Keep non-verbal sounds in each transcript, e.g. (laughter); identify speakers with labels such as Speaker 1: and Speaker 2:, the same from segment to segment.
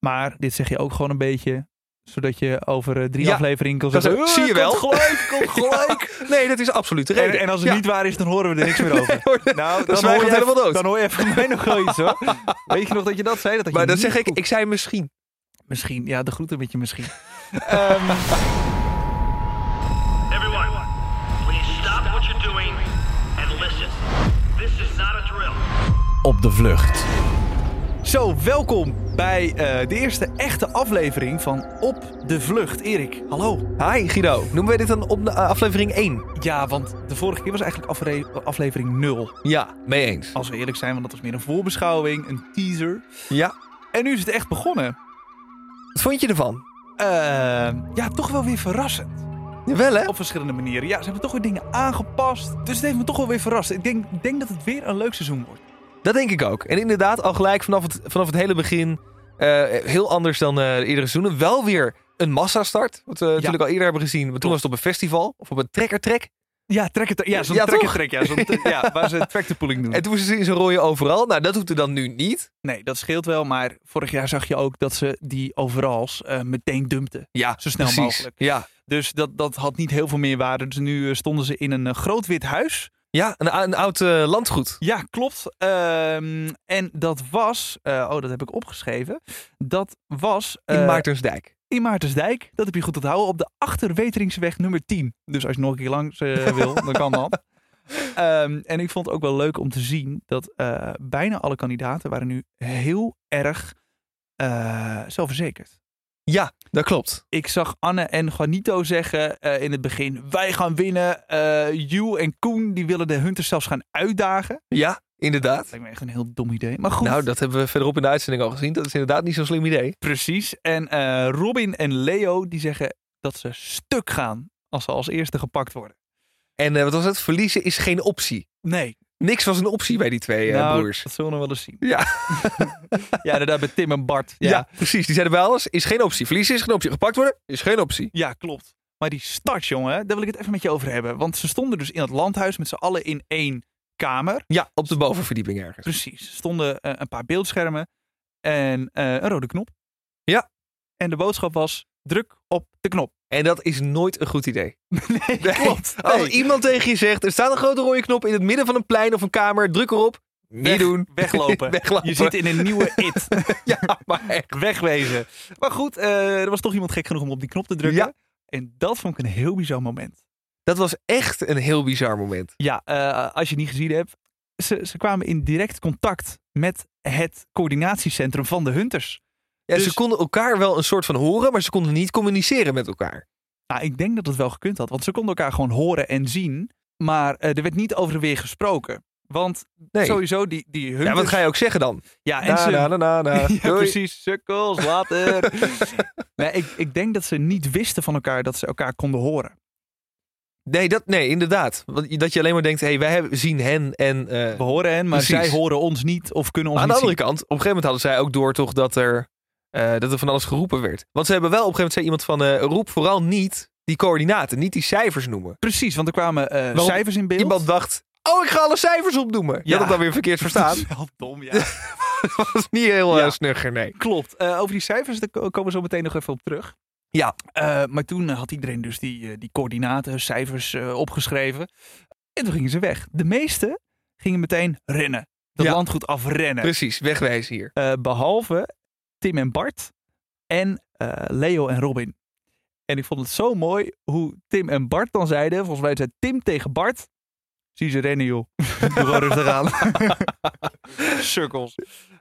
Speaker 1: Maar dit zeg je ook gewoon een beetje zodat je over eh, drie
Speaker 2: Ja,
Speaker 1: afleveringen kan
Speaker 2: dat
Speaker 1: zeggen...
Speaker 2: is-
Speaker 1: "Eh,
Speaker 2: zie je wel."
Speaker 1: Komt
Speaker 2: (laughs)
Speaker 1: gelijk, komt gelijk.
Speaker 2: Nee, dat is absoluut de reden.
Speaker 1: en, en als het
Speaker 2: Ja.
Speaker 1: niet waar is, dan horen we er niks meer over.
Speaker 2: (laughs) Nee, hoor,
Speaker 1: Nou,
Speaker 2: dan zwijgen we
Speaker 1: hoor je
Speaker 2: helemaal
Speaker 1: even-
Speaker 2: dood.
Speaker 1: Dan hoor je even van mij nog wel iets hoor.
Speaker 2: (laughs)
Speaker 1: Weet je nog dat je dat zei? Dat had je
Speaker 2: maar dat
Speaker 1: niet
Speaker 2: zeg ik,
Speaker 1: goed.
Speaker 2: ik zei misschien.
Speaker 1: Misschien, ja, de groeten met je misschien.
Speaker 3: Everyone, please stop what you're doing and listen. This is not a drill.
Speaker 4: Op de vlucht.
Speaker 1: Zo, welkom bij eh, de eerste echte aflevering van Op de Vlucht. Erik, hallo.
Speaker 2: Hi Guido, noemen wij dit dan op de, eh, aflevering 1?
Speaker 1: Ja, want de vorige keer was eigenlijk afre- aflevering 0.
Speaker 2: Ja, mee eens.
Speaker 1: Als we eerlijk zijn, want dat was meer een voorbeschouwing, een teaser.
Speaker 2: Ja.
Speaker 1: En nu is het echt begonnen.
Speaker 2: Wat vond je ervan?
Speaker 1: Eh, ja, toch wel weer verrassend.
Speaker 2: Jawel hè?
Speaker 1: Op verschillende manieren. Ja, ze hebben toch weer dingen aangepast. Dus het heeft me toch wel weer verrast. Ik denk, ik denk dat het weer een leuk seizoen wordt.
Speaker 2: Dat denk ik ook. En inderdaad, al gelijk vanaf het, vanaf het hele begin eh, heel anders dan eh de eerdere seizoenen. Wel weer een massastart, wat we natuurlijk al eerder hebben gezien. Maar toen was het op een festival of op een trekkertrek.
Speaker 1: Ja, trek het, ja zo'n
Speaker 2: Ja,
Speaker 1: trek
Speaker 2: toch?
Speaker 1: het trek. Ja,
Speaker 2: (laughs)
Speaker 1: zo'n t- ja, waar ze track de pooling doen.
Speaker 2: En toen was ze in zijn rooien overal. Nou, dat hoeft er dan nu niet.
Speaker 1: Nee, dat scheelt wel. Maar vorig jaar zag je ook dat ze die overals eh, meteen dumpten.
Speaker 2: Ja,
Speaker 1: Zo snel
Speaker 2: precies.
Speaker 1: mogelijk.
Speaker 2: Ja,
Speaker 1: Dus dat, dat had niet heel veel meer waarde. Dus nu eh, stonden ze in een eh, groot wit huis.
Speaker 2: ja een, een oud eh, landgoed.
Speaker 1: Ja, klopt. Ehm, en dat was, eh, oh dat heb ik opgeschreven. Dat was
Speaker 2: In
Speaker 1: eh,
Speaker 2: Maartensdijk.
Speaker 1: in Maartensdijk. Dat heb je goed onthouden. Op de Achterweteringsweg nummer 10. Dus als je nog een keer langs eh, wil, dan kan dat. Ehm, en ik vond het ook wel leuk om te zien dat eh, bijna alle kandidaten waren nu heel erg eh, zelfverzekerd.
Speaker 2: Ja, dat klopt.
Speaker 1: Ik zag Anne en Juanito zeggen eh, in het begin, wij gaan winnen. Eh Joe en Koen, die willen de Hunters zelfs gaan uitdagen.
Speaker 2: Ja, inderdaad.
Speaker 1: Dat lijkt me echt een heel dom idee. Maar goed,
Speaker 2: Nou, dat hebben we verderop in de uitzending al gezien. Dat is inderdaad niet zo'n slim idee.
Speaker 1: precies. En eh, Robin en Leo, die zeggen dat ze stuk gaan als ze als eerste gepakt worden.
Speaker 2: En eh, wat was het? Verliezen is geen optie.
Speaker 1: Nee.
Speaker 2: Niks was een optie bij die twee eh,
Speaker 1: nou,
Speaker 2: broers.
Speaker 1: Dat zullen we nog wel eens zien.
Speaker 2: Ja.
Speaker 1: (laughs) ja, inderdaad, bij Tim en Bart. Ja.
Speaker 2: Ja.
Speaker 1: ja.
Speaker 2: precies. Die zeiden bij alles, is geen optie. Verliezen is geen optie. Gepakt worden is geen optie.
Speaker 1: klopt. Maar die start, jongen, daar wil ik het even met je over hebben. Want ze stonden dus in het landhuis met z'n allen in één kamer.
Speaker 2: Ja, op de bovenverdieping ergens.
Speaker 1: Precies. Er stonden eh, een paar beeldschermen en eh, een rode knop.
Speaker 2: Ja.
Speaker 1: En de boodschap was, druk op de
Speaker 2: (laughs)
Speaker 1: knop. (laughs)
Speaker 2: En dat is nooit een goed idee.
Speaker 1: Nee,
Speaker 2: Als iemand tegen je zegt, er staat een grote rode knop in het midden van een plein of een kamer, druk erop. Niet
Speaker 1: Weg-
Speaker 2: doen.
Speaker 1: Weglopen.
Speaker 2: (laughs) Weglopen.
Speaker 1: Je zit in een nieuwe it.
Speaker 2: (laughs) Ja, maar echt.
Speaker 1: Wegwezen. Maar goed, eh, er was toch iemand gek genoeg om op die knop te drukken.
Speaker 2: Ja.
Speaker 1: En dat vond ik een heel bizar moment.
Speaker 2: Dat was echt een heel bizar moment.
Speaker 1: Ja, eh, als je het niet gezien hebt. Ze, ze kwamen in direct contact met het coördinatiecentrum van de Hunters.
Speaker 2: Ja,
Speaker 1: Dus-
Speaker 2: Ze konden elkaar wel een soort van horen, maar ze konden niet communiceren met elkaar.
Speaker 1: Nou, ik denk dat het wel gekund had, want ze konden elkaar gewoon horen en zien. Maar eh, er werd niet over en weer gesproken. Want
Speaker 2: Nee.
Speaker 1: sowieso, die, die Hunters...
Speaker 2: Ja, wat ga je ook zeggen dan?
Speaker 1: Ja, en
Speaker 2: Na,
Speaker 1: ze...
Speaker 2: na, na, na, (laughs) na.
Speaker 1: (laughs) ja,
Speaker 2: Doei.
Speaker 1: precies. Sukkels,
Speaker 2: (laughs)
Speaker 1: later. nee, ik, ik denk dat ze niet wisten van elkaar dat ze elkaar konden horen.
Speaker 2: Nee, dat, nee, inderdaad. Want je- Dat je alleen maar denkt, hey, wij hebben- zien hen en... eh,
Speaker 1: We horen hen, maar
Speaker 2: Precies.
Speaker 1: zij horen ons niet of kunnen ons
Speaker 2: aan de
Speaker 1: niet
Speaker 2: andere
Speaker 1: zien.
Speaker 2: kant, op een gegeven moment hadden zij ook door toch dat er, eh, dat er van alles geroepen werd. Want ze hebben wel op een gegeven moment zei iemand van, eh, roep vooral niet die coördinaten, niet die cijfers noemen.
Speaker 1: Precies, want er kwamen eh,
Speaker 2: Want
Speaker 1: cijfers in beeld.
Speaker 2: Iemand dacht, oh, ik ga alle cijfers opnoemen. Je
Speaker 1: Ja.
Speaker 2: had het dan weer verkeerd
Speaker 1: Dat
Speaker 2: verstaan. (laughs)
Speaker 1: is (laughs) wel dom, ja.
Speaker 2: dat was niet heel eh,
Speaker 1: Ja.
Speaker 2: snugger, nee.
Speaker 1: Klopt. Eh, over die cijfers daar ko- komen we zo meteen nog even op terug.
Speaker 2: Ja.
Speaker 1: Eh, maar toen eh, had iedereen dus die, eh, die coördinaten, cijfers eh, opgeschreven. En toen gingen ze weg. De meesten gingen meteen rennen. Dat
Speaker 2: Ja.
Speaker 1: landgoed afrennen.
Speaker 2: Precies, wegwijzen hier.
Speaker 1: Eh, behalve Tim en Bart en eh, Leo en Robin. En ik vond het zo mooi hoe Tim en Bart dan zeiden. Volgens mij zei Tim tegen Bart. Zie ze rennen joh. Doe Gewoon rustig aan. (laughs) Cirkels.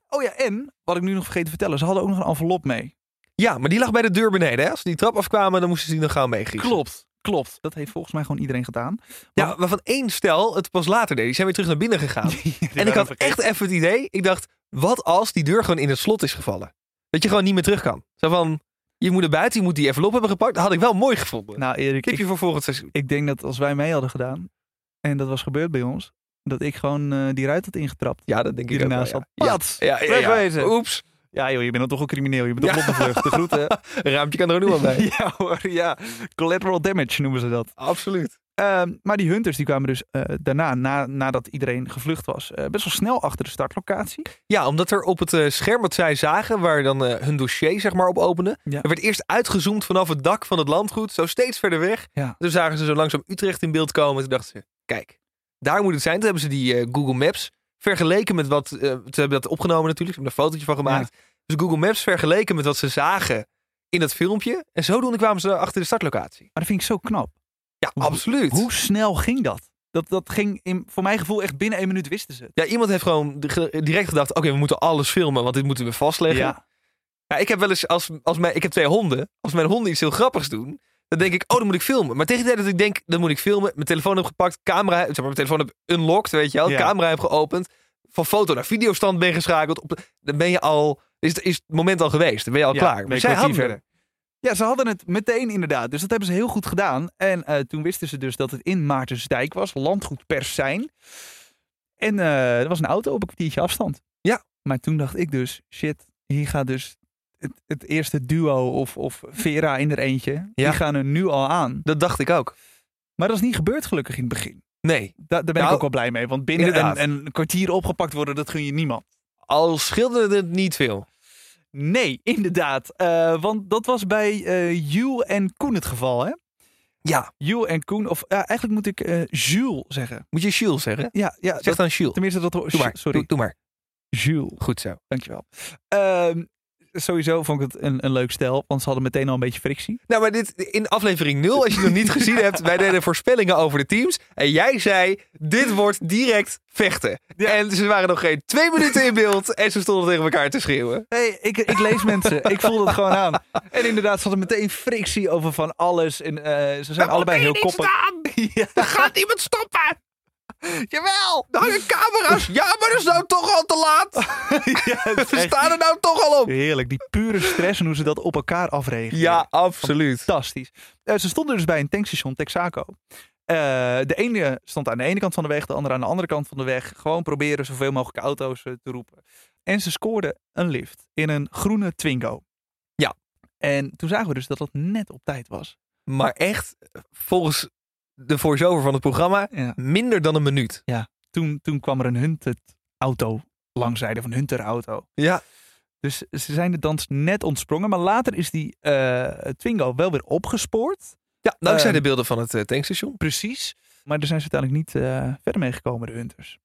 Speaker 1: Oh ja, en wat ik nu nog vergeten te vertellen. Ze hadden ook nog een envelop mee.
Speaker 2: Ja, maar die lag bij de deur beneden. Hè? Als ze die trap afkwamen, dan moesten ze die nog gaan meegriezen.
Speaker 1: Klopt, klopt. Dat heeft volgens mij gewoon iedereen gedaan.
Speaker 2: Ja, waarvan één stel het pas later deed. Die zijn weer terug naar binnen gegaan. En ik had echt even het idee, ik dacht, wat als die deur gewoon in het slot is gevallen? Dat je gewoon niet meer terug kan. Zo van, je moet er buiten, je moet die envelop hebben gepakt. Dat had ik wel mooi gevonden.
Speaker 1: Nou Erik, ik,
Speaker 2: Tipje voor volgend seizoen.
Speaker 1: ik denk dat als wij mee hadden gedaan. En dat was gebeurd bij ons. Dat ik gewoon eh, die ruit had ingetrapt.
Speaker 2: Ja, dat denk
Speaker 1: Die
Speaker 2: ik ook wel,
Speaker 1: ernaast
Speaker 2: ja.
Speaker 1: had.
Speaker 2: Ja,
Speaker 1: Pats!
Speaker 2: ja, ja, ja.
Speaker 1: Wegwezen.
Speaker 2: Oeps,
Speaker 1: Ja joh, je bent dan toch een crimineel. Je bent op
Speaker 2: Ja.
Speaker 1: de vlucht. De groeten.
Speaker 2: een raampje kan er ook nog wel bij.
Speaker 1: Ja hoor, ja. Collateral damage noemen ze dat.
Speaker 2: (laughs) Absoluut.
Speaker 1: Ehm, maar die hunters die kwamen dus eh, daarna, na, nadat iedereen gevlucht was, eh, best wel snel achter de startlocatie.
Speaker 2: Ja, omdat er op het eh, scherm wat zij zagen, waar dan eh, hun dossier zeg maar op opende,
Speaker 1: Ja.
Speaker 2: er werd eerst uitgezoomd vanaf het dak van het landgoed, zo steeds verder weg.
Speaker 1: Ja.
Speaker 2: Toen zagen ze zo langzaam Utrecht in beeld komen. Toen dachten ze, kijk, daar moet het zijn. Toen hebben ze die eh, Google Maps vergeleken met wat, eh, ze hebben dat opgenomen natuurlijk, ze hebben er een fotootje van gemaakt. Dus Google Maps vergeleken met wat ze zagen in dat filmpje. En zodoende kwamen ze achter de startlocatie.
Speaker 1: Maar dat vind ik zo knap.
Speaker 2: Ja,
Speaker 1: Hoe-
Speaker 2: absoluut.
Speaker 1: Hoe snel ging dat? Dat, dat ging in, voor mijn gevoel echt binnen één minuut wisten ze het.
Speaker 2: Ja, iemand heeft gewoon de- ge- direct gedacht, oké, we moeten alles filmen, want dit moeten we vastleggen. Ja, Nou, ik heb wel eens, als, als mijn, ik heb twee honden. Als mijn honden iets heel grappigs doen, dan denk ik, oh, dan moet ik filmen. Maar tegen de tijd dat ik denk, dan moet ik filmen, mijn telefoon heb gepakt, camera, zeg maar, mijn telefoon heb unlocked, weet je wel,
Speaker 1: Ja.
Speaker 2: camera heb geopend, van foto naar videostand ben geschakeld, op, dan ben je al, is, is het moment al geweest, dan ben je al
Speaker 1: Ja, ben
Speaker 2: klaar.
Speaker 1: je
Speaker 2: Maar zij
Speaker 1: kwartier
Speaker 2: hadden verder.
Speaker 1: Ja, ze hadden het meteen inderdaad. Dus dat hebben ze heel goed gedaan. En eh, toen wisten ze dus dat het in Maartensdijk was, landgoed Persijn. En eh, er was een auto op een kwartiertje afstand.
Speaker 2: Ja.
Speaker 1: Maar toen dacht ik dus, shit, hier gaat dus het, het eerste duo of, of Vera in er eentje. Die
Speaker 2: Ja.
Speaker 1: gaan er nu al aan.
Speaker 2: Dat dacht ik ook.
Speaker 1: Maar dat is niet gebeurd gelukkig in het begin.
Speaker 2: Nee,
Speaker 1: Da- daar ben ik
Speaker 2: Nou,
Speaker 1: ook wel blij mee. Want binnen
Speaker 2: inderdaad.
Speaker 1: een, een kwartier opgepakt worden, dat gun je niemand.
Speaker 2: al schilderde het niet veel.
Speaker 1: Nee, inderdaad. Eh, want dat was bij eh Jules en Koen het geval, hè?
Speaker 2: Ja,
Speaker 1: Jules en Koen, of ja, eigenlijk moet ik eh, Jules zeggen.
Speaker 2: moet je Jules zeggen?
Speaker 1: Ja, ja
Speaker 2: Zeg
Speaker 1: dat,
Speaker 2: dan Jules.
Speaker 1: tenminste dat... hoor-
Speaker 2: Doe maar,
Speaker 1: Sorry,
Speaker 2: Doe, doe maar.
Speaker 1: Jules.
Speaker 2: Goed zo.
Speaker 1: Dankjewel. Ehm, sowieso vond ik het een, een leuk stel, want ze hadden meteen al een beetje frictie.
Speaker 2: Nou, maar dit in aflevering 0, als je het nog niet gezien hebt, wij deden voorspellingen over de teams. En jij zei: dit wordt direct vechten. En ze waren nog geen twee minuten in beeld en ze stonden tegen elkaar te schreeuwen.
Speaker 1: hey, ik, ik lees mensen. Ik voel dat gewoon aan. En inderdaad, ze hadden meteen frictie over van alles. En eh, ze zijn allebei heel koppig. (laughs)
Speaker 2: Ja. Er gaat iemand stoppen! Jawel! Er hangen camera's! Ja, maar dat is nou toch al te (laughs) laat! Ze staan er nou toch al op!
Speaker 1: Heerlijk, die pure stress en hoe ze dat op elkaar afregen.
Speaker 2: Ja, absoluut.
Speaker 1: Fantastisch. Eh, ze stonden dus bij een tankstation Texaco. Eh, de ene stond aan de ene kant van de weg, de andere aan de andere kant van de weg. Gewoon proberen zoveel mogelijk auto's eh, te roepen. En ze scoorden een lift in een groene Twingo.
Speaker 2: Ja.
Speaker 1: En toen zagen we dus dat dat net op tijd was.
Speaker 2: Maar echt, volgens de voice-over van het programma,
Speaker 1: Ja.
Speaker 2: minder dan een minuut.
Speaker 1: Toen, toen kwam er een hunted auto langzijde van hunter auto.
Speaker 2: Ja,
Speaker 1: Dus ze zijn de dans net ontsprongen. Maar later is die eh, Twingo wel weer opgespoord.
Speaker 2: ja dankzij
Speaker 1: Ehm.
Speaker 2: de beelden van het eh, tankstation.
Speaker 1: Precies. Maar daar zijn ze uiteindelijk niet eh, verder mee gekomen, de hunters.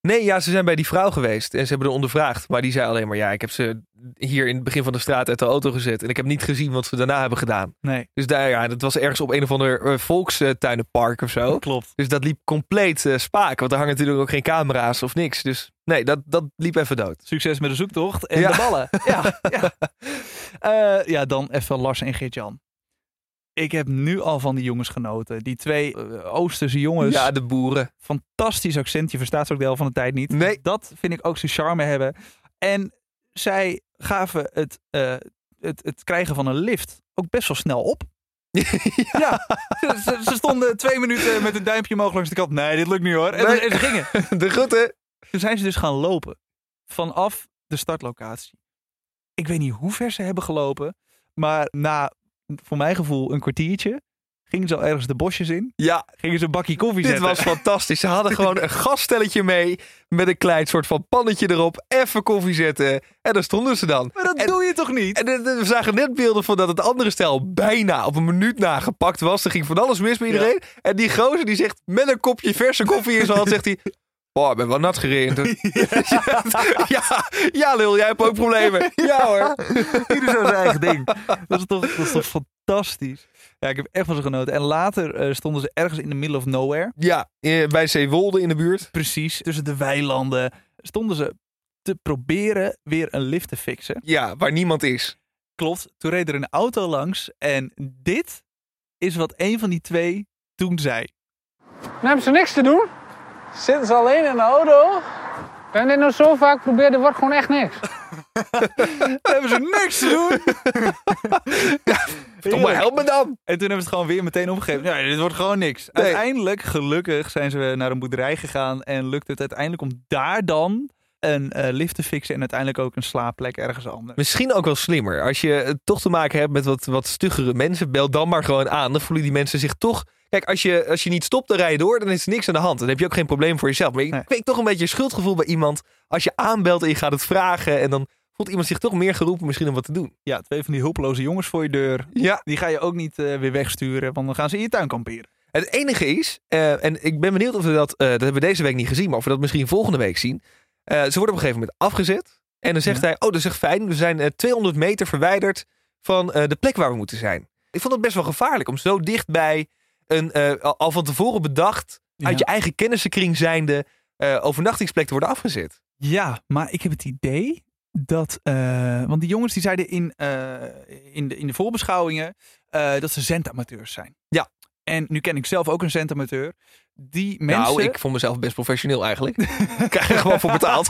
Speaker 2: Nee, ja, ze zijn bij die vrouw geweest en ze hebben haar ondervraagd. Maar die zei alleen maar, ja, ik heb ze hier in het begin van de straat uit de auto gezet. En ik heb niet gezien wat ze daarna hebben gedaan.
Speaker 1: Nee,
Speaker 2: Dus daar, ja, dat was ergens op een of ander eh, volkstuinenpark of zo.
Speaker 1: klopt.
Speaker 2: Dus dat liep compleet eh, spaak, want er hangen natuurlijk ook geen camera's of niks. Dus nee, dat, dat liep even dood.
Speaker 1: Succes met de zoektocht en
Speaker 2: (laughs) Ja.
Speaker 1: de ballen. Ja, ja. (laughs) Eh, ja, dan even Lars en Geert-Jan. Ik heb nu al van die jongens genoten. Die twee eh, Oosterse jongens.
Speaker 2: Ja, de boeren. (laughs)
Speaker 1: Fantastisch accent. Je verstaat ze ook de helft van de tijd niet.
Speaker 2: Nee.
Speaker 1: Dat vind ik ook zijn charme hebben. En zij gaven het, eh, het, het krijgen van een lift ook best wel snel
Speaker 2: (laughs)
Speaker 1: op. Ja, ze, ze- ze stonden twee minuten met een duimpje omhoog langs de kant. Nee, dit lukt niet hoor. En,
Speaker 2: Nee.
Speaker 1: en ze gingen.
Speaker 2: De groeten.
Speaker 1: Toen zijn ze dus gaan lopen. Vanaf de startlocatie. Ik weet niet hoe ver ze hebben gelopen. Maar na, voor mijn gevoel, een kwartiertje. Gingen ze al ergens de bosjes in.
Speaker 2: Ja,
Speaker 1: Gingen ze een bakje koffie
Speaker 2: dit
Speaker 1: zetten.
Speaker 2: was fantastisch. Ze hadden gewoon een gaststelletje mee met een klein soort van pannetje erop. Even koffie zetten. En daar stonden ze dan.
Speaker 1: Maar dat
Speaker 2: En-
Speaker 1: doe je toch niet?
Speaker 2: En eh, we zagen net beelden van dat het andere stel bijna op een minuut na gepakt was. Er ging van alles mis bij iedereen. En die gozer die zegt met een kopje verse koffie in zijn hand, zegt hij... Oh, ik ben wel nat gereden. Ja, (laughs) ja, lul, jij hebt ook problemen. Ja hoor.
Speaker 1: Ieder zo zijn eigen ding. (laughs) Dat is toch, dat is toch fantastisch. Ja, ik heb echt van ze genoten. En later eh, stonden ze ergens in de middle of nowhere.
Speaker 2: Ja, eh, bij Zeewolde in de buurt.
Speaker 1: Precies, tussen de weilanden. Stonden ze te proberen weer een lift te fixen.
Speaker 2: Ja, waar niemand is.
Speaker 1: Klopt. Toen reed er een auto langs. En dit is wat een van die twee toen zei.
Speaker 5: Dan hebben ze niks te doen. Zitten ze alleen in de auto? Ik ben dit nou zo vaak probeerd, er wordt gewoon echt niks.
Speaker 1: Dan hebben ze niks te
Speaker 2: (laughs)
Speaker 1: doen.
Speaker 2: Kom maar, help me dan.
Speaker 1: En toen hebben ze het gewoon weer meteen opgegeven. Nee, dit wordt gewoon niks.
Speaker 2: Nee.
Speaker 1: Uiteindelijk, gelukkig, zijn ze naar een boerderij gegaan. En lukt het uiteindelijk om daar dan een eh, lift te fixen. En uiteindelijk ook een slaapplek ergens anders.
Speaker 2: Misschien ook wel slimmer. Als je eh, toch te maken hebt met wat, wat stuggere mensen, bel dan maar gewoon aan. Dan voelen die mensen zich toch... Kijk, als je, als je niet stopt, dan rij je door. Dan is er niks aan de hand. Dan heb je ook geen probleem voor jezelf. Maar ik
Speaker 1: Nee.
Speaker 2: kweek toch een beetje een schuldgevoel bij iemand. Als je aanbelt en je gaat het vragen. En dan voelt iemand zich toch meer geroepen misschien om wat te doen.
Speaker 1: Ja, twee van die hulpeloze jongens voor je deur.
Speaker 2: Ja.
Speaker 1: Die ga je ook niet eh, weer wegsturen, want dan gaan ze in je tuin kamperen.
Speaker 2: Het enige is, eh, en ik ben benieuwd of we dat, eh, dat hebben we deze week niet gezien, maar of we dat misschien volgende week zien. Eh, ze worden op een gegeven moment afgezet. En dan zegt
Speaker 1: Ja.
Speaker 2: hij, oh dat is echt fijn, we zijn eh, 200 meter verwijderd van eh, de plek waar we moeten zijn. Ik vond dat best wel gevaarlijk om zo dichtbij een eh, al al van tevoren bedacht,
Speaker 1: Ja.
Speaker 2: uit je eigen kennissenkring zijnde, eh, overnachtingsplek te worden afgezet.
Speaker 1: Ja, maar ik heb het idee dat. eh, want die jongens die zeiden in, eh, in, de, in de voorbeschouwingen eh, dat ze zendamamateurs zijn.
Speaker 2: Ja.
Speaker 1: En nu ken ik zelf ook een zendamateur. Die mensen. (laughs)
Speaker 2: Nou, ik vond mezelf best professioneel eigenlijk. (laughs) ik krijg er gewoon voor betaald.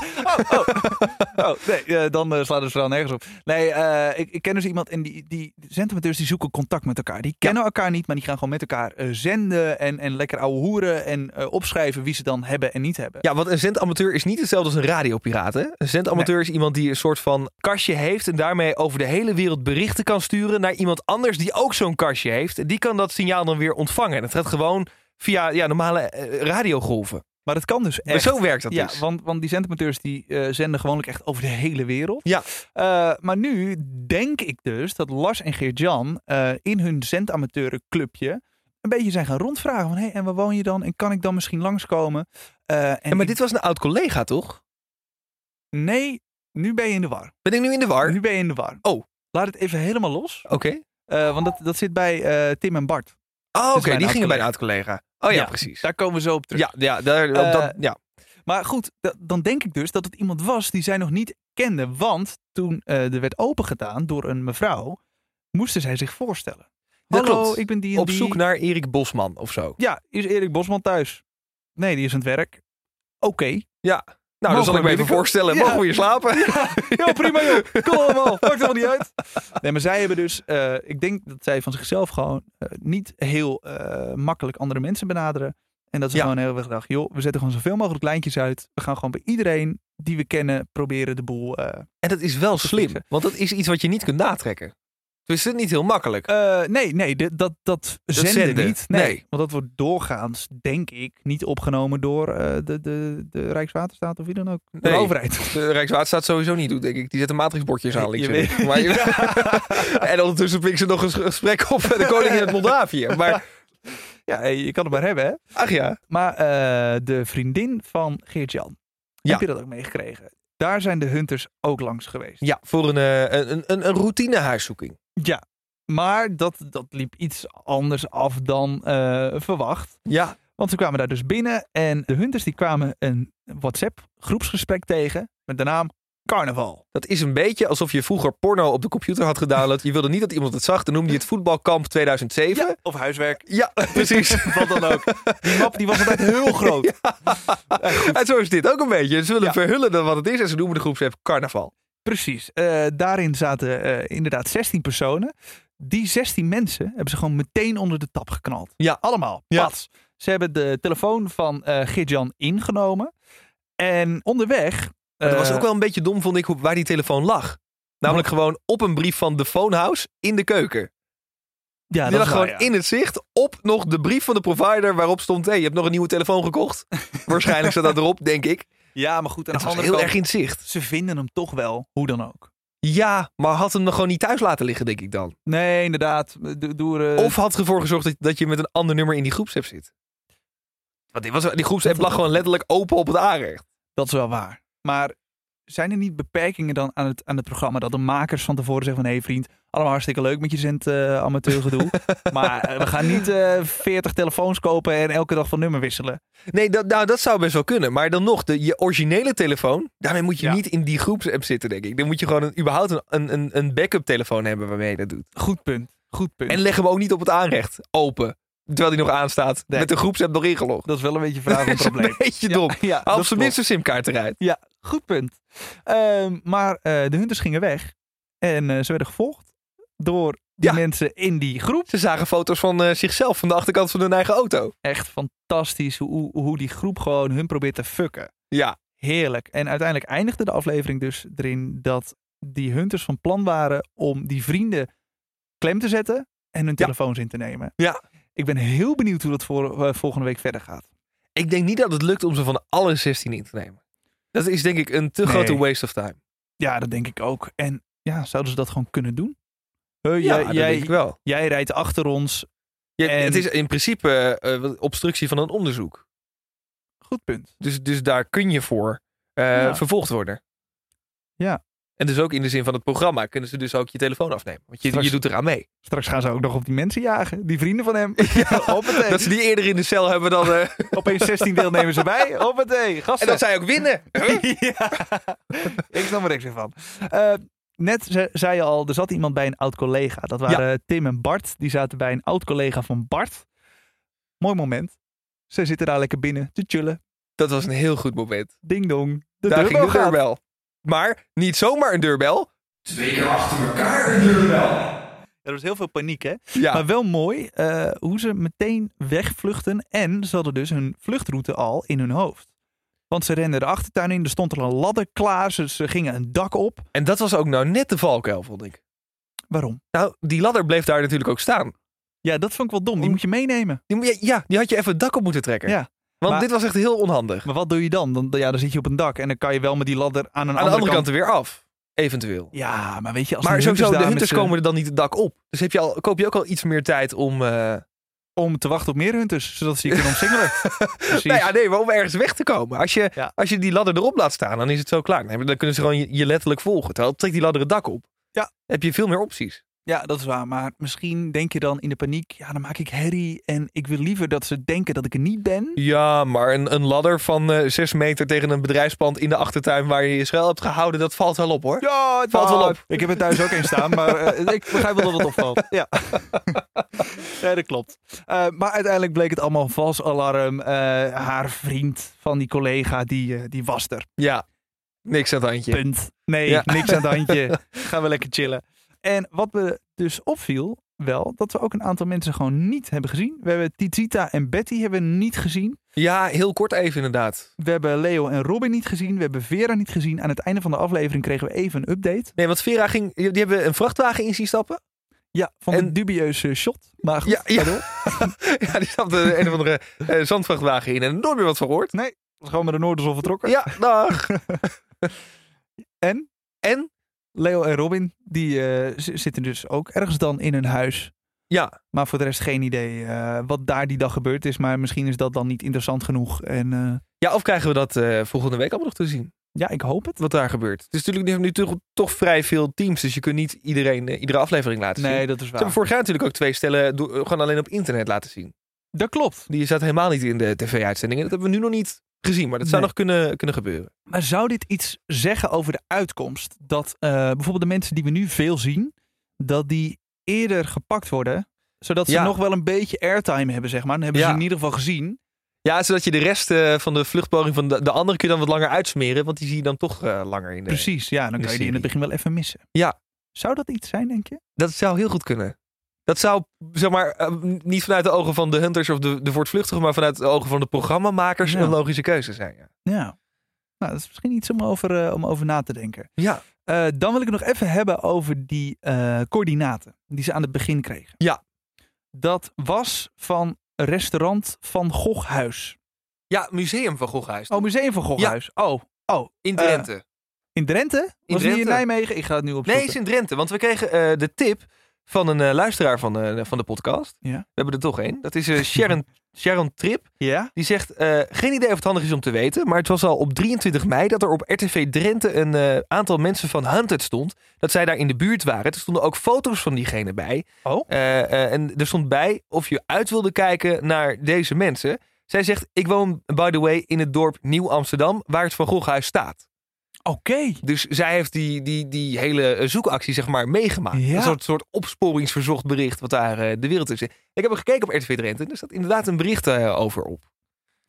Speaker 1: Oh, nee, eh, dan eh, slaan ze vooral nergens op. Nee, eh, ik, ik ken dus iemand en die, die zendamateurs die zoeken contact met elkaar. Die kennen elkaar niet, maar die gaan gewoon met elkaar eh, zenden en, en lekker ouwe hoeren en eh, opschrijven wie ze dan hebben en niet hebben.
Speaker 2: Ja, want een zendamateur is niet hetzelfde als een radiopiraat. Hè? Een zendamateur is iemand die een soort van kastje heeft en daarmee over de hele wereld berichten kan sturen naar iemand anders die ook zo'n kastje heeft. En Die kan dat signaal dan weer ontvangen. En het gaat gewoon via ja, normale eh, radiogolven.
Speaker 1: Maar dat kan dus
Speaker 2: Maar
Speaker 1: echt.
Speaker 2: zo werkt dat
Speaker 1: ja,
Speaker 2: dus.
Speaker 1: want, want die zendamateurs die eh, zenden gewoonlijk echt over de hele wereld.
Speaker 2: Ja.
Speaker 1: Eh, maar nu denk ik dus dat Lars en Geert-Jan eh, in hun zendamateur-clubje een beetje zijn gaan rondvragen. Van, hey, en waar woon je dan? En kan ik dan misschien langskomen? Eh, en
Speaker 2: Ja, maar
Speaker 1: ik-
Speaker 2: dit was een oud collega, toch?
Speaker 1: Nee, nu ben je in de war.
Speaker 2: Ben ik nu in de war?
Speaker 1: Nu ben je in de war.
Speaker 2: Oh.
Speaker 1: Laat het even helemaal los.
Speaker 2: Oké.
Speaker 1: eh, want dat, dat zit bij eh, Tim en Bart.
Speaker 2: Oh, oké.
Speaker 1: bij een
Speaker 2: Die
Speaker 1: oud
Speaker 2: gingen
Speaker 1: collega.
Speaker 2: bij een oud collega. Oh ja,
Speaker 1: Ja.
Speaker 2: precies.
Speaker 1: Daar komen we zo op terug.
Speaker 2: Ja, ja, daar, op
Speaker 1: Eh,
Speaker 2: dat, ja.
Speaker 1: Maar goed, da- dan denk ik dus dat het iemand was die zij nog niet kende. Want toen eh, er werd opengedaan door een mevrouw, moesten zij zich voorstellen.
Speaker 2: Dat
Speaker 1: Hallo,
Speaker 2: klopt.
Speaker 1: ik ben die en
Speaker 2: op
Speaker 1: die.
Speaker 2: zoek naar Erik Bosman of zo. Nou,
Speaker 1: Ja, is Erik Bosman thuis? Nee, die is aan het werk. Oké.
Speaker 2: Ja. Nou,
Speaker 1: Mogen
Speaker 2: dan zal ik
Speaker 1: we
Speaker 2: me even
Speaker 1: binnenkomen?
Speaker 2: voorstellen.
Speaker 1: Ja.
Speaker 2: Mogen we hier slapen?
Speaker 1: (laughs) Ja, prima joh. Kom allemaal. Maakt helemaal niet uit. Nee, maar zij hebben dus... eh, ik denk dat zij van zichzelf gewoon eh, niet heel eh, makkelijk andere mensen benaderen. En dat ze
Speaker 2: Ja.
Speaker 1: gewoon heel erg gedacht... joh, we zetten gewoon zoveel mogelijk lijntjes uit. We gaan gewoon bij iedereen die we kennen proberen de boel... eh,
Speaker 2: En dat is wel slim,
Speaker 1: fixen.
Speaker 2: want dat is iets wat je niet kunt natrekken. Dus het is niet heel makkelijk.
Speaker 1: eh, nee, nee, dit- dat, dat, zenden,
Speaker 2: zenden,
Speaker 1: niet. Nee,
Speaker 2: nee.
Speaker 1: Want dat wordt doorgaans, denk ik, niet opgenomen door eh, de, de, de Rijkswaterstaat of wie dan ook.
Speaker 2: Nee.
Speaker 1: De overheid. (laughs)
Speaker 2: De Rijkswaterstaat sowieso niet doet, denk ik. Die zet een matrixbordjes (laughs)
Speaker 1: Je
Speaker 2: aan links en
Speaker 1: weet-
Speaker 2: rechts. Maar (laughs) je- En ondertussen pikken ze nog een gesprek op met de koning in het Moldavië. Maar,
Speaker 1: Ja, hey, je kan het maar hebben, hè.
Speaker 2: ach ja.
Speaker 1: Maar eh, de vriendin van Geert-Jan,
Speaker 2: Ja.
Speaker 1: heb je dat ook meegekregen? Daar zijn de hunters ook langs geweest.
Speaker 2: Ja, voor een, eh, een, een, een routine huiszoeking.
Speaker 1: Ja. Maar dat, dat liep iets anders af dan eh, verwacht.
Speaker 2: Ja.
Speaker 1: Want ze kwamen daar dus binnen en de hunters die kwamen een WhatsApp groepsgesprek tegen met de naam Carnaval.
Speaker 2: Dat is een beetje alsof je vroeger porno op de computer had gedownload. Je wilde niet dat iemand het zag. Dan noemde je het voetbalkamp 2007. Ja,
Speaker 1: Of huiswerk.
Speaker 2: (laughs) precies.
Speaker 1: Wat dan ook. Die map die was altijd heel
Speaker 2: (laughs)
Speaker 1: groot.
Speaker 2: En zo is dit ook een beetje. Ze willen
Speaker 1: Ja.
Speaker 2: verhullen dan wat het is. En ze noemen de groepsapp carnaval.
Speaker 1: Precies. Eh, daarin zaten eh, inderdaad 16 personen. Die 16 mensen hebben ze gewoon meteen onder de tap geknald.
Speaker 2: Ja.
Speaker 1: Allemaal.
Speaker 2: Ja.
Speaker 1: Pats. Ze hebben de telefoon van eh Gidjan ingenomen. En onderweg...
Speaker 2: Maar dat was
Speaker 1: eh,
Speaker 2: ook wel een beetje dom, vond ik, hoe- waar die telefoon lag. Namelijk gewoon op een brief van de phonehouse in de keuken.
Speaker 1: Ja,
Speaker 2: die
Speaker 1: dat
Speaker 2: lag
Speaker 1: is waar,
Speaker 2: gewoon
Speaker 1: ja.
Speaker 2: in het zicht op nog de brief van de provider waarop stond... hé, je hebt nog een nieuwe telefoon
Speaker 1: (laughs)
Speaker 2: gekocht. Waarschijnlijk staat dat erop, denk ik.
Speaker 1: Ja, maar goed. Aan
Speaker 2: Het
Speaker 1: de
Speaker 2: was
Speaker 1: andere
Speaker 2: heel
Speaker 1: kant,
Speaker 2: erg in het zicht.
Speaker 1: ze vinden hem toch wel, hoe dan ook.
Speaker 2: Ja, maar had hem nog gewoon niet thuis laten liggen, denk ik dan.
Speaker 1: Nee, inderdaad. Do- Door, eh,
Speaker 2: Of had ervoor gezorgd dat, dat je met een ander nummer in die groepsapp zit. Want die, was, die groepsapp lag gewoon letterlijk open op het aanrecht.
Speaker 1: Dat is wel waar. Maar zijn er niet beperkingen dan aan het, aan het programma? Dat de makers van tevoren zeggen van... hé hey vriend, allemaal hartstikke leuk met je zend eh, (laughs) amateurgedoe. maar eh, we gaan niet eh 40 telefoons kopen en elke dag van nummer wisselen.
Speaker 2: Nee, dat, nou, dat zou best wel kunnen. Maar dan nog, de, je originele telefoon, daarmee moet je
Speaker 1: Ja.
Speaker 2: niet in die groepsapp zitten, denk ik. Dan moet je gewoon een, überhaupt een- een, een, een backup telefoon hebben waarmee je dat doet.
Speaker 1: Goed punt. Goed punt.
Speaker 2: En
Speaker 1: En
Speaker 2: leg hem ook niet op het aanrecht open. Terwijl die nog aanstaat,
Speaker 1: Nee.
Speaker 2: met de groepsapp nog ingelogd.
Speaker 1: dat is wel een beetje (laughs) vraag een
Speaker 2: is een
Speaker 1: probleem.
Speaker 2: beetje dom.
Speaker 1: Ja, ja,
Speaker 2: Haal
Speaker 1: dat
Speaker 2: op zijn
Speaker 1: klopt.
Speaker 2: minst een simkaart eruit.
Speaker 1: Ja, goed punt. Ehm, maar eh, de hunters gingen weg. En eh, ze werden gevolgd door die
Speaker 2: Ja.
Speaker 1: mensen in die groep.
Speaker 2: Ze zagen foto's van eh, zichzelf, van de achterkant van hun eigen auto.
Speaker 1: Echt fantastisch hoe, hoe die groep gewoon hun probeert te fucken.
Speaker 2: Ja,
Speaker 1: Heerlijk. En uiteindelijk eindigde de aflevering dus erin dat die hunters van plan waren om die vrienden klem te zetten en hun telefoons in te nemen.
Speaker 2: Ja.
Speaker 1: Ik ben heel benieuwd hoe dat voor, eh, volgende week verder gaat.
Speaker 2: Ik denk niet dat het lukt om ze van alle 16 in te nemen. Dat is denk ik een te
Speaker 1: Nee.
Speaker 2: grote waste of time.
Speaker 1: Ja, dat denk ik ook. En ja, zouden ze dat gewoon kunnen doen? Eh,
Speaker 2: Ja,
Speaker 1: jij,
Speaker 2: dat
Speaker 1: jij,
Speaker 2: denk ik wel.
Speaker 1: jij rijdt achter ons.
Speaker 2: Ja,
Speaker 1: En-
Speaker 2: Het is in principe eh, eh, obstructie van een onderzoek.
Speaker 1: Goed punt.
Speaker 2: Dus, dus daar kun je voor eh,
Speaker 1: Ja.
Speaker 2: vervolgd worden.
Speaker 1: Ja.
Speaker 2: En dus ook in de zin van het programma kunnen ze dus ook je telefoon afnemen. Want je,
Speaker 1: Straks-
Speaker 2: je doet eraan mee.
Speaker 1: Straks gaan ze ook nog op die mensen jagen. Die vrienden van
Speaker 2: (laughs)
Speaker 1: hem. (laughs) Hoppatee.
Speaker 2: Dat ze die eerder in de cel hebben
Speaker 1: (laughs)
Speaker 2: dan... eh, (laughs)
Speaker 1: Opeens 16 deelnemers erbij. Hoppatee,
Speaker 2: en
Speaker 1: gasten.
Speaker 2: dat zij ook winnen. Huh? (laughs)
Speaker 1: ja. Ik snap er niks meer van. Eh, net ze- zei je al, er zat iemand bij een oud-collega. Dat waren Tim en Bart. Die zaten bij een oud-collega van Bart. Mooi moment. Ze zitten daar lekker binnen te chillen.
Speaker 2: Dat was een heel goed moment.
Speaker 1: Ding dong. De
Speaker 2: Daar ging
Speaker 1: deurbel
Speaker 2: de
Speaker 1: gaat.
Speaker 2: deurbel. Maar niet zomaar een deurbel.
Speaker 1: Er was heel veel paniek, hè?
Speaker 2: Ja.
Speaker 1: Maar wel mooi eh, hoe ze meteen wegvluchten. En ze hadden dus hun vluchtroute al in hun hoofd. Want ze renden de achtertuin in. Er stond al een ladder klaar. Ze, ze gingen een dak op.
Speaker 2: En dat was ook nou net de valkuil, vond ik.
Speaker 1: Waarom?
Speaker 2: Nou, die ladder bleef daar natuurlijk ook staan.
Speaker 1: Ja, dat vond ik wel dom. Die moet je meenemen.
Speaker 2: Die, moet je- ja, die had je even het dak op moeten trekken.
Speaker 1: Ja,
Speaker 2: Want
Speaker 1: maar-
Speaker 2: dit was echt heel onhandig.
Speaker 1: Maar wat doe je dan? dan? Ja, dan zit je op een dak en dan kan je wel met die ladder aan een
Speaker 2: Aan de
Speaker 1: andere,
Speaker 2: andere kant er weer af, eventueel.
Speaker 1: Ja, maar weet je, als
Speaker 2: maar
Speaker 1: de
Speaker 2: sowieso, de
Speaker 1: daar
Speaker 2: hunters
Speaker 1: met z'n-
Speaker 2: komen er dan niet het dak op. Dus heb je al, koop je ook al iets meer tijd om... eh,
Speaker 1: om te wachten op meer hunters, zodat ze je kunnen
Speaker 2: (laughs)
Speaker 1: omsingelen. Precies.
Speaker 2: Nou ja, nee, maar om ergens weg te komen. Als je,
Speaker 1: Ja.
Speaker 2: als je die ladder erop laat staan, dan is het zo klaar. Dan dan kunnen ze gewoon je, je letterlijk volgen. Terwijl trekt die ladder het dak op.
Speaker 1: Ja.
Speaker 2: Heb je veel meer opties.
Speaker 1: Ja, dat is waar. Maar misschien denk je dan in de paniek, ja, dan maak ik herrie en ik wil liever dat ze denken dat ik er niet ben.
Speaker 2: Ja, maar een, een ladder van eh, zes meter tegen een bedrijfspand in de achtertuin waar je je schuil hebt gehouden, dat valt wel op hoor.
Speaker 1: Ja, het
Speaker 2: Valt wel
Speaker 1: wel
Speaker 2: op.
Speaker 1: Ik heb er thuis ook een staan, maar
Speaker 2: (laughs)
Speaker 1: eh, ik begrijp wel dat het opvalt. Ja, ja dat klopt. Eh, maar uiteindelijk bleek het allemaal vals alarm. Eh, haar vriend van die collega, die, eh, die was er.
Speaker 2: Ja, niks aan het handje.
Speaker 1: Punt. Nee,
Speaker 2: Ja.
Speaker 1: niks aan het
Speaker 2: (laughs)
Speaker 1: handje. Gaan we lekker chillen. En wat me dus opviel, wel, dat we ook een aantal mensen gewoon niet hebben gezien. We hebben Tizita en Betty hebben we niet gezien.
Speaker 2: Ja, heel kort even inderdaad.
Speaker 1: We hebben Leo en Robin niet gezien. We hebben Vera niet gezien. Aan het einde van de aflevering kregen we even een update.
Speaker 2: Nee, want Vera ging, die hebben een vrachtwagen in zien stappen.
Speaker 1: Ja, van
Speaker 2: En-
Speaker 1: een dubieuze shot. Maar goed,
Speaker 2: Ja, ja.
Speaker 1: daardoor.
Speaker 2: (laughs) Ja, die stapte een of andere eh, zandvrachtwagen in en nooit meer wat van gehoord.
Speaker 1: Was gewoon met de Noorders al vertrokken.
Speaker 2: Ja, nou, dag.
Speaker 1: En
Speaker 2: En?
Speaker 1: Leo en Robin, die eh, z- zitten dus ook ergens dan in hun huis.
Speaker 2: Ja,
Speaker 1: Maar voor de rest geen idee eh, wat daar die dag gebeurd is. Maar misschien is dat dan niet interessant genoeg. En eh,
Speaker 2: ja of krijgen we dat eh, volgende week allemaal nog te zien,
Speaker 1: ja, ik hoop het.
Speaker 2: wat daar gebeurt. Het is natuurlijk nu toch, toch vrij veel teams, dus je kunt niet iedereen eh, iedere aflevering laten zien.
Speaker 1: Nee, dat is
Speaker 2: Ze
Speaker 1: waar.
Speaker 2: hebben vorig jaar natuurlijk ook twee stellen do- gewoon alleen op internet laten zien.
Speaker 1: Dat klopt.
Speaker 2: Die zat helemaal niet in de tv-uitzendingen. Dat hebben we nu nog niet gezien, maar dat zou
Speaker 1: Nee.
Speaker 2: nog kunnen, kunnen gebeuren.
Speaker 1: Maar zou dit iets zeggen over de uitkomst? Dat eh, bijvoorbeeld de mensen die we nu veel zien, dat die eerder gepakt worden. Zodat ze
Speaker 2: Ja.
Speaker 1: nog wel een beetje airtime hebben, zeg maar. Dan hebben ze
Speaker 2: Ja.
Speaker 1: in ieder geval gezien.
Speaker 2: Ja, zodat je de rest eh, van de vluchtpoging van de, de andere kun je dan wat langer uitsmeren, want die zie je dan toch eh, langer in de...
Speaker 1: Precies, ja. Dan
Speaker 2: de
Speaker 1: kan je die in het begin wel even missen.
Speaker 2: Ja.
Speaker 1: Zou dat iets zijn, denk je?
Speaker 2: Dat zou heel goed kunnen. Dat zou, zeg maar, eh, niet vanuit de ogen van de hunters of de, de voortvluchtigen, maar vanuit de ogen van de programmamakers
Speaker 1: Ja.
Speaker 2: een logische keuze zijn. Ja.
Speaker 1: Ja. Nou, dat is misschien iets om over, eh, om over na te denken.
Speaker 2: ja.
Speaker 1: Eh, dan wil ik het nog even hebben over die eh, coördinaten die ze aan het begin kregen.
Speaker 2: Ja.
Speaker 1: Dat was van restaurant Van Goghuis.
Speaker 2: Ja, Museum van Goghuis.
Speaker 1: Oh, Museum van Goghuis. Oh, oh.
Speaker 2: in
Speaker 1: eh,
Speaker 2: Drenthe.
Speaker 1: In Drenthe? Was die in
Speaker 2: Drenthe.
Speaker 1: Nijmegen? Ik ga het nu opzoeken.
Speaker 2: nee, het is in Drenthe, want we kregen eh, de tip van een eh, luisteraar van, eh, van de podcast.
Speaker 1: Ja.
Speaker 2: We hebben er toch één. Dat is
Speaker 1: (laughs)
Speaker 2: eh, Sharon, Sharon Trip.
Speaker 1: Ja?
Speaker 2: Die zegt, eh, geen idee of het handig is om te weten, maar het was al op 23 mei dat er op RTV Drenthe een eh, aantal mensen van Hunted stond. Dat zij daar in de buurt waren. Er stonden ook foto's van diegene bij.
Speaker 1: Oh?
Speaker 2: Eh, eh, en er stond bij of je uit wilde kijken naar deze mensen. Zij zegt, ik woon, by the way, in het dorp Nieuw-Amsterdam, waar het Van Goghuis staat.
Speaker 1: Oké.
Speaker 2: Dus zij heeft die, die, die hele eh, zoekactie, zeg maar, meegemaakt.
Speaker 1: Ja.
Speaker 2: Een soort, soort opsporingsverzocht bericht wat daar eh, de wereld in zit. Ik heb er gekeken op RTV Drenthe en er staat inderdaad een bericht eh, over op.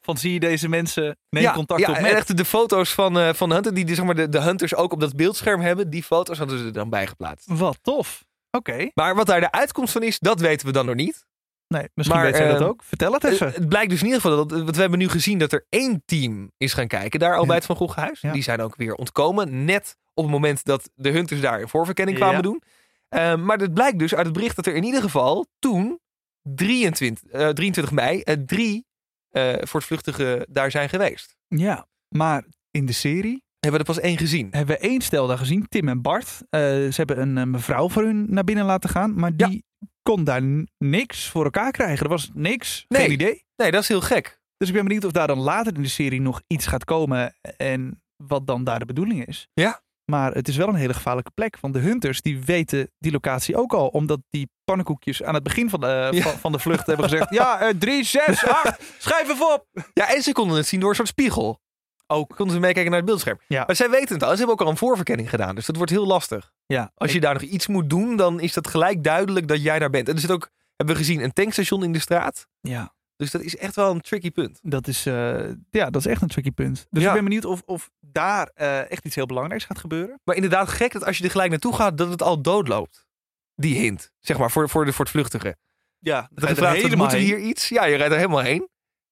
Speaker 1: Van zie je deze mensen, neem
Speaker 2: ja,
Speaker 1: contact
Speaker 2: ja,
Speaker 1: op
Speaker 2: en
Speaker 1: met.
Speaker 2: echt de foto's van, eh, van de Hunter, die de, zeg maar, de, de Hunters ook op dat beeldscherm hebben, die foto's hadden ze er dan bij geplaatst.
Speaker 1: Wat tof. Oké.
Speaker 2: Maar wat daar de uitkomst van is, dat weten we dan nog niet.
Speaker 1: Nee, misschien
Speaker 2: Maar,
Speaker 1: weet jij dat
Speaker 2: eh,
Speaker 1: ook. Vertel het
Speaker 2: Eh,
Speaker 1: even.
Speaker 2: Het blijkt dus in ieder geval, dat, want we hebben nu gezien dat er één team is gaan kijken daar al
Speaker 1: Ja.
Speaker 2: bij het Van Goghuis.
Speaker 1: Ja.
Speaker 2: Die zijn ook weer ontkomen, net op het moment dat de Hunters daar een voorverkenning kwamen Ehm,
Speaker 1: Ja.
Speaker 2: doen. Eh, maar het blijkt dus uit het bericht dat er in ieder geval toen 23, eh, 23 mei eh, drie eh, voortvluchtigen daar zijn geweest.
Speaker 1: Ja, maar in de serie
Speaker 2: Hebben we er pas één gezien.
Speaker 1: hebben we één stel daar gezien, Tim en Bart. Eh, ze hebben een eh, mevrouw voor hun naar binnen laten gaan, maar die kon daar n- niks voor elkaar krijgen. Er was niks,
Speaker 2: Nee.
Speaker 1: geen idee.
Speaker 2: Nee, dat is heel gek.
Speaker 1: Dus ik ben benieuwd of daar dan later in de serie nog iets gaat komen en wat dan daar de bedoeling is.
Speaker 2: Ja.
Speaker 1: Maar het is wel een hele gevaarlijke plek, want de hunters die weten die locatie ook al, omdat die pannenkoekjes aan het begin van de, eh,
Speaker 2: Ja.
Speaker 1: van, van de vlucht hebben
Speaker 2: (laughs)
Speaker 1: gezegd, ja, eh, 3, 6, 8, (laughs) schrijf even op.
Speaker 2: Ja, en ze konden het zien door een soort spiegel. Ook. Konden ze meekijken naar het beeldscherm.
Speaker 1: Ja.
Speaker 2: Maar zij weten het al. Ze hebben ook al een voorverkenning gedaan. Dus dat wordt heel lastig.
Speaker 1: Ja,
Speaker 2: Als je daar nog iets moet doen, dan is dat gelijk duidelijk dat jij daar bent. En er zit ook, hebben we gezien, een tankstation in de straat.
Speaker 1: ja.
Speaker 2: Dus dat is echt wel een tricky punt.
Speaker 1: Dat is, eh, ja, dat is echt een tricky punt. Dus
Speaker 2: Ja.
Speaker 1: ik ben benieuwd of, of daar eh, echt iets heel belangrijks gaat gebeuren.
Speaker 2: Maar inderdaad, gek dat als je er gelijk naartoe gaat, dat het al doodloopt. Die hint, zeg maar, voor, voor, de, voor het vluchtigen.
Speaker 1: Ja,
Speaker 2: Dat er gevraagd wordt, moet er hier iets? Ja, je rijdt er helemaal heen.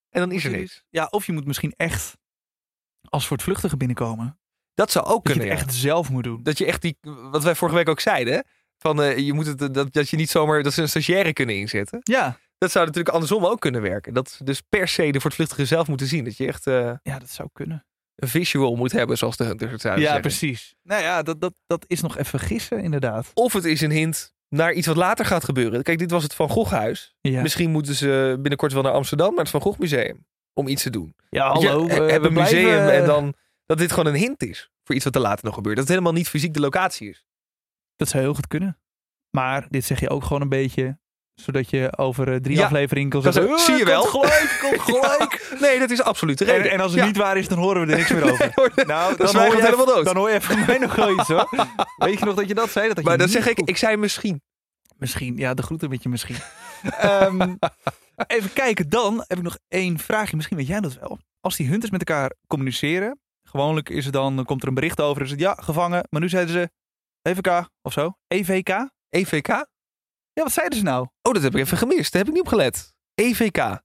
Speaker 2: En dan is er niks.
Speaker 1: Ja, of je moet misschien echt als voor het vluchtigen binnenkomen.
Speaker 2: Dat zou ook
Speaker 1: Dat je
Speaker 2: kunnen.
Speaker 1: het
Speaker 2: ja.
Speaker 1: echt zelf moet doen.
Speaker 2: dat je echt die, wat wij vorige week ook zeiden, hè? van eh, je moet het, eh, dat, dat je niet zomaar, dat ze een stagiaire kunnen inzetten.
Speaker 1: Ja.
Speaker 2: Dat zou natuurlijk andersom ook kunnen werken. Dat ze dus per se de voortvluchtige zelf moeten zien. Dat je echt eh,
Speaker 1: ja, dat zou kunnen.
Speaker 2: een visual moet hebben, zoals de hunters het
Speaker 1: Ja,
Speaker 2: zouden zeggen.
Speaker 1: precies. Nou ja, dat, dat, dat is nog even gissen inderdaad.
Speaker 2: Of het is een hint naar iets wat later gaat gebeuren. Kijk, dit was het Van Goghhuis.
Speaker 1: Ja,
Speaker 2: Misschien moeten ze binnenkort wel naar Amsterdam, naar het Van Gogh Museum. Om iets te doen.
Speaker 1: ja
Speaker 2: Weet je,
Speaker 1: hallo.
Speaker 2: he-
Speaker 1: eh,
Speaker 2: hebben
Speaker 1: we
Speaker 2: een museum
Speaker 1: blijven, eh,
Speaker 2: en dan dat dit gewoon een hint is. Voor iets wat er later nog gebeurt. Dat het helemaal niet fysiek de locatie is.
Speaker 1: Dat zou heel goed kunnen. Maar dit zeg je ook gewoon een beetje, zodat je over eh, drie
Speaker 2: Ja.
Speaker 1: afleveringen kan
Speaker 2: Dat
Speaker 1: zeggen...
Speaker 2: is-
Speaker 1: "Eh,
Speaker 2: zie je wel."
Speaker 1: Komt (laughs) gelijk, komt gelijk.
Speaker 2: (laughs) Nee, dat is absoluut de reden.
Speaker 1: en, en als het
Speaker 2: Ja. (laughs)
Speaker 1: niet waar is, dan horen we er niks meer over. (laughs) Nou,
Speaker 2: dan zwijgen we het
Speaker 1: hoor je
Speaker 2: helemaal
Speaker 1: even-
Speaker 2: dood.
Speaker 1: Dan hoor je even van mij nog wel iets (laughs) hoor. Weet je nog dat je dat zei? Dat had je
Speaker 2: Maar dat
Speaker 1: niet
Speaker 2: zeg ik,
Speaker 1: goed.
Speaker 2: ik zei misschien.
Speaker 1: Misschien, ja, de groeten met je misschien. Ehm, even kijken, dan heb ik nog één vraagje. Misschien weet jij dat wel. Als die hunters met elkaar communiceren, gewoonlijk is het dan, dan komt er een bericht over. Is het ja, gevangen. Maar nu zeiden ze EVK of zo. EVK?
Speaker 2: EVK?
Speaker 1: Ja, wat zeiden ze nou?
Speaker 2: E Oh, dat heb ik even gemist. Daar heb ik niet op gelet. E EVK.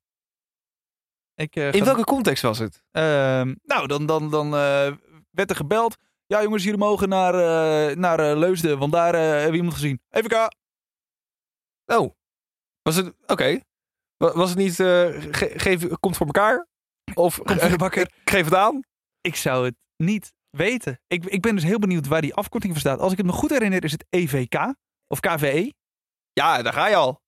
Speaker 1: Ik, eh,
Speaker 2: In
Speaker 1: ga-
Speaker 2: welke context was het?
Speaker 1: Ehm, nou, dan, dan, dan eh, werd er gebeld. Ja, jongens, jullie mogen naar, eh, naar eh, Leusden, want daar eh, hebben we iemand gezien. EVK.
Speaker 2: Oh. Was het... Oké. Wa- Was het niet... eh, ge- geef, komt voor elkaar? Of
Speaker 1: Komt voor de bakker.
Speaker 2: (laughs) Ik geef het aan?
Speaker 1: Ik zou het niet weten. Ik, ik ben dus heel benieuwd waar die afkorting voor staat. Als ik het me goed herinner, is het EVK of E. KVE.
Speaker 2: Ja, daar ga je al.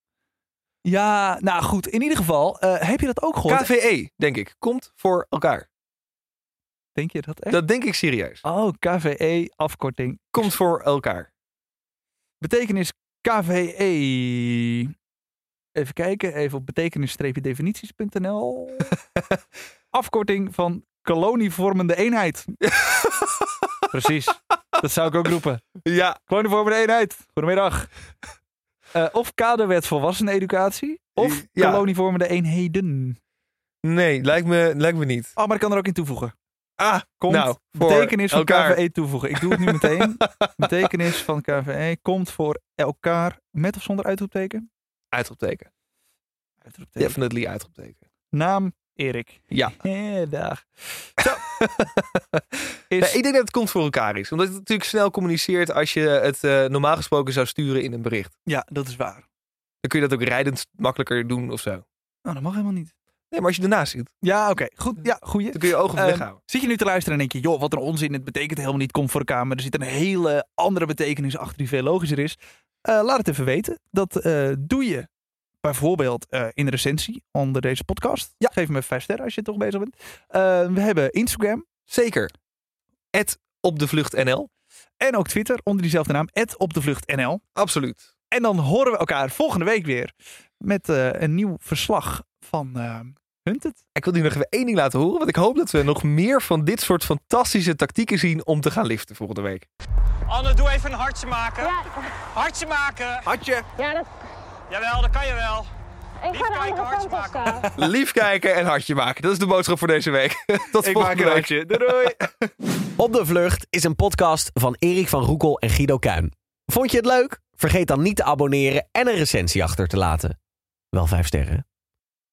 Speaker 1: Ja, nou goed. In ieder geval, eh, heb je dat ook gehoord?
Speaker 2: KVE, E, denk ik. Komt voor elkaar.
Speaker 1: Denk je E. dat echt?
Speaker 2: Dat denk ik serieus.
Speaker 1: Oh, KVE afkorting.
Speaker 2: Komt voor elkaar.
Speaker 1: Betekenis KVE. Even kijken, even op (laughs) betekenis-definities.nl. Afkorting van kolonievormende (laughs) eenheid. Precies. Dat zou ik ook roepen.
Speaker 2: Ja.
Speaker 1: Kloniformende eenheid. Goedemiddag. Eh, of kaderwet volwasseneneducatie. Of
Speaker 2: Ja.
Speaker 1: kolonievormende eenheden.
Speaker 2: Nee, lijkt me, lijkt me niet.
Speaker 1: Oh, maar ik kan er ook in toevoegen.
Speaker 2: Ah,
Speaker 1: Komt
Speaker 2: nou, voor
Speaker 1: betekenis van
Speaker 2: elkaar.
Speaker 1: KVE toevoegen. Ik doe het nu
Speaker 2: (laughs)
Speaker 1: meteen. betekenis van KVE komt voor elkaar met of zonder uitroepteken.
Speaker 2: Uitroepteken.
Speaker 1: Uitroepteken.
Speaker 2: Definitely uitroepteken.
Speaker 1: Naam Erik.
Speaker 2: Ja.
Speaker 1: Eh, dag.
Speaker 2: (laughs)
Speaker 1: Zo. Is,
Speaker 2: Nee, ik denk dat het komt voor elkaar is. Omdat het natuurlijk snel communiceert als je het eh, normaal gesproken zou sturen in een bericht.
Speaker 1: Ja, dat is waar.
Speaker 2: Dan kun je dat ook rijdend makkelijker doen of zo.
Speaker 1: Nou, dat mag helemaal niet.
Speaker 2: Nee, maar als je ernaast zit,
Speaker 1: Ja, oké. Goed. Ja, goeie.
Speaker 2: dan kun je je ogen van
Speaker 1: Ehm,
Speaker 2: weghouden.
Speaker 1: Zit je nu te luisteren en denk je, joh, wat een onzin, het betekent helemaal niet kom voor elkaar, maar er zit een hele andere betekenis achter die veel logischer is. Eh, laat het even weten. Dat eh, doe je bijvoorbeeld eh, in de recensie onder deze podcast. Ja. Geef me even vijf sterren als je toch bezig bent. Eh, we hebben Instagram
Speaker 2: Zeker. At op de vlucht NL.
Speaker 1: en ook Twitter onder diezelfde naam, @opdevluchtnl.
Speaker 2: Absoluut.
Speaker 1: En dan horen we elkaar volgende week weer met eh, een nieuw verslag van eh Hunted.
Speaker 2: Ik wil nu nog even één ding laten horen, want ik hoop dat we nog meer van dit soort fantastische tactieken zien om te gaan liften volgende week.
Speaker 6: Anne, doe even een hartje maken. Hartje maken.
Speaker 2: Hartje.
Speaker 7: Ja, dat,
Speaker 6: Jawel, dat kan je wel.
Speaker 7: ik ga de
Speaker 6: kijken,
Speaker 7: andere
Speaker 6: hartje
Speaker 7: kant op
Speaker 6: maken.
Speaker 7: staan.
Speaker 2: Lief kijken en hartje maken. Dat is de boodschap voor deze week. (laughs) Tot volgende week.
Speaker 1: Doei (laughs) doei.
Speaker 4: Op de Vlucht is een podcast van Erik van Roekel en Guido Kuin. Vond je het leuk? Vergeet dan niet te abonneren en een recensie achter te laten. Wel vijf sterren.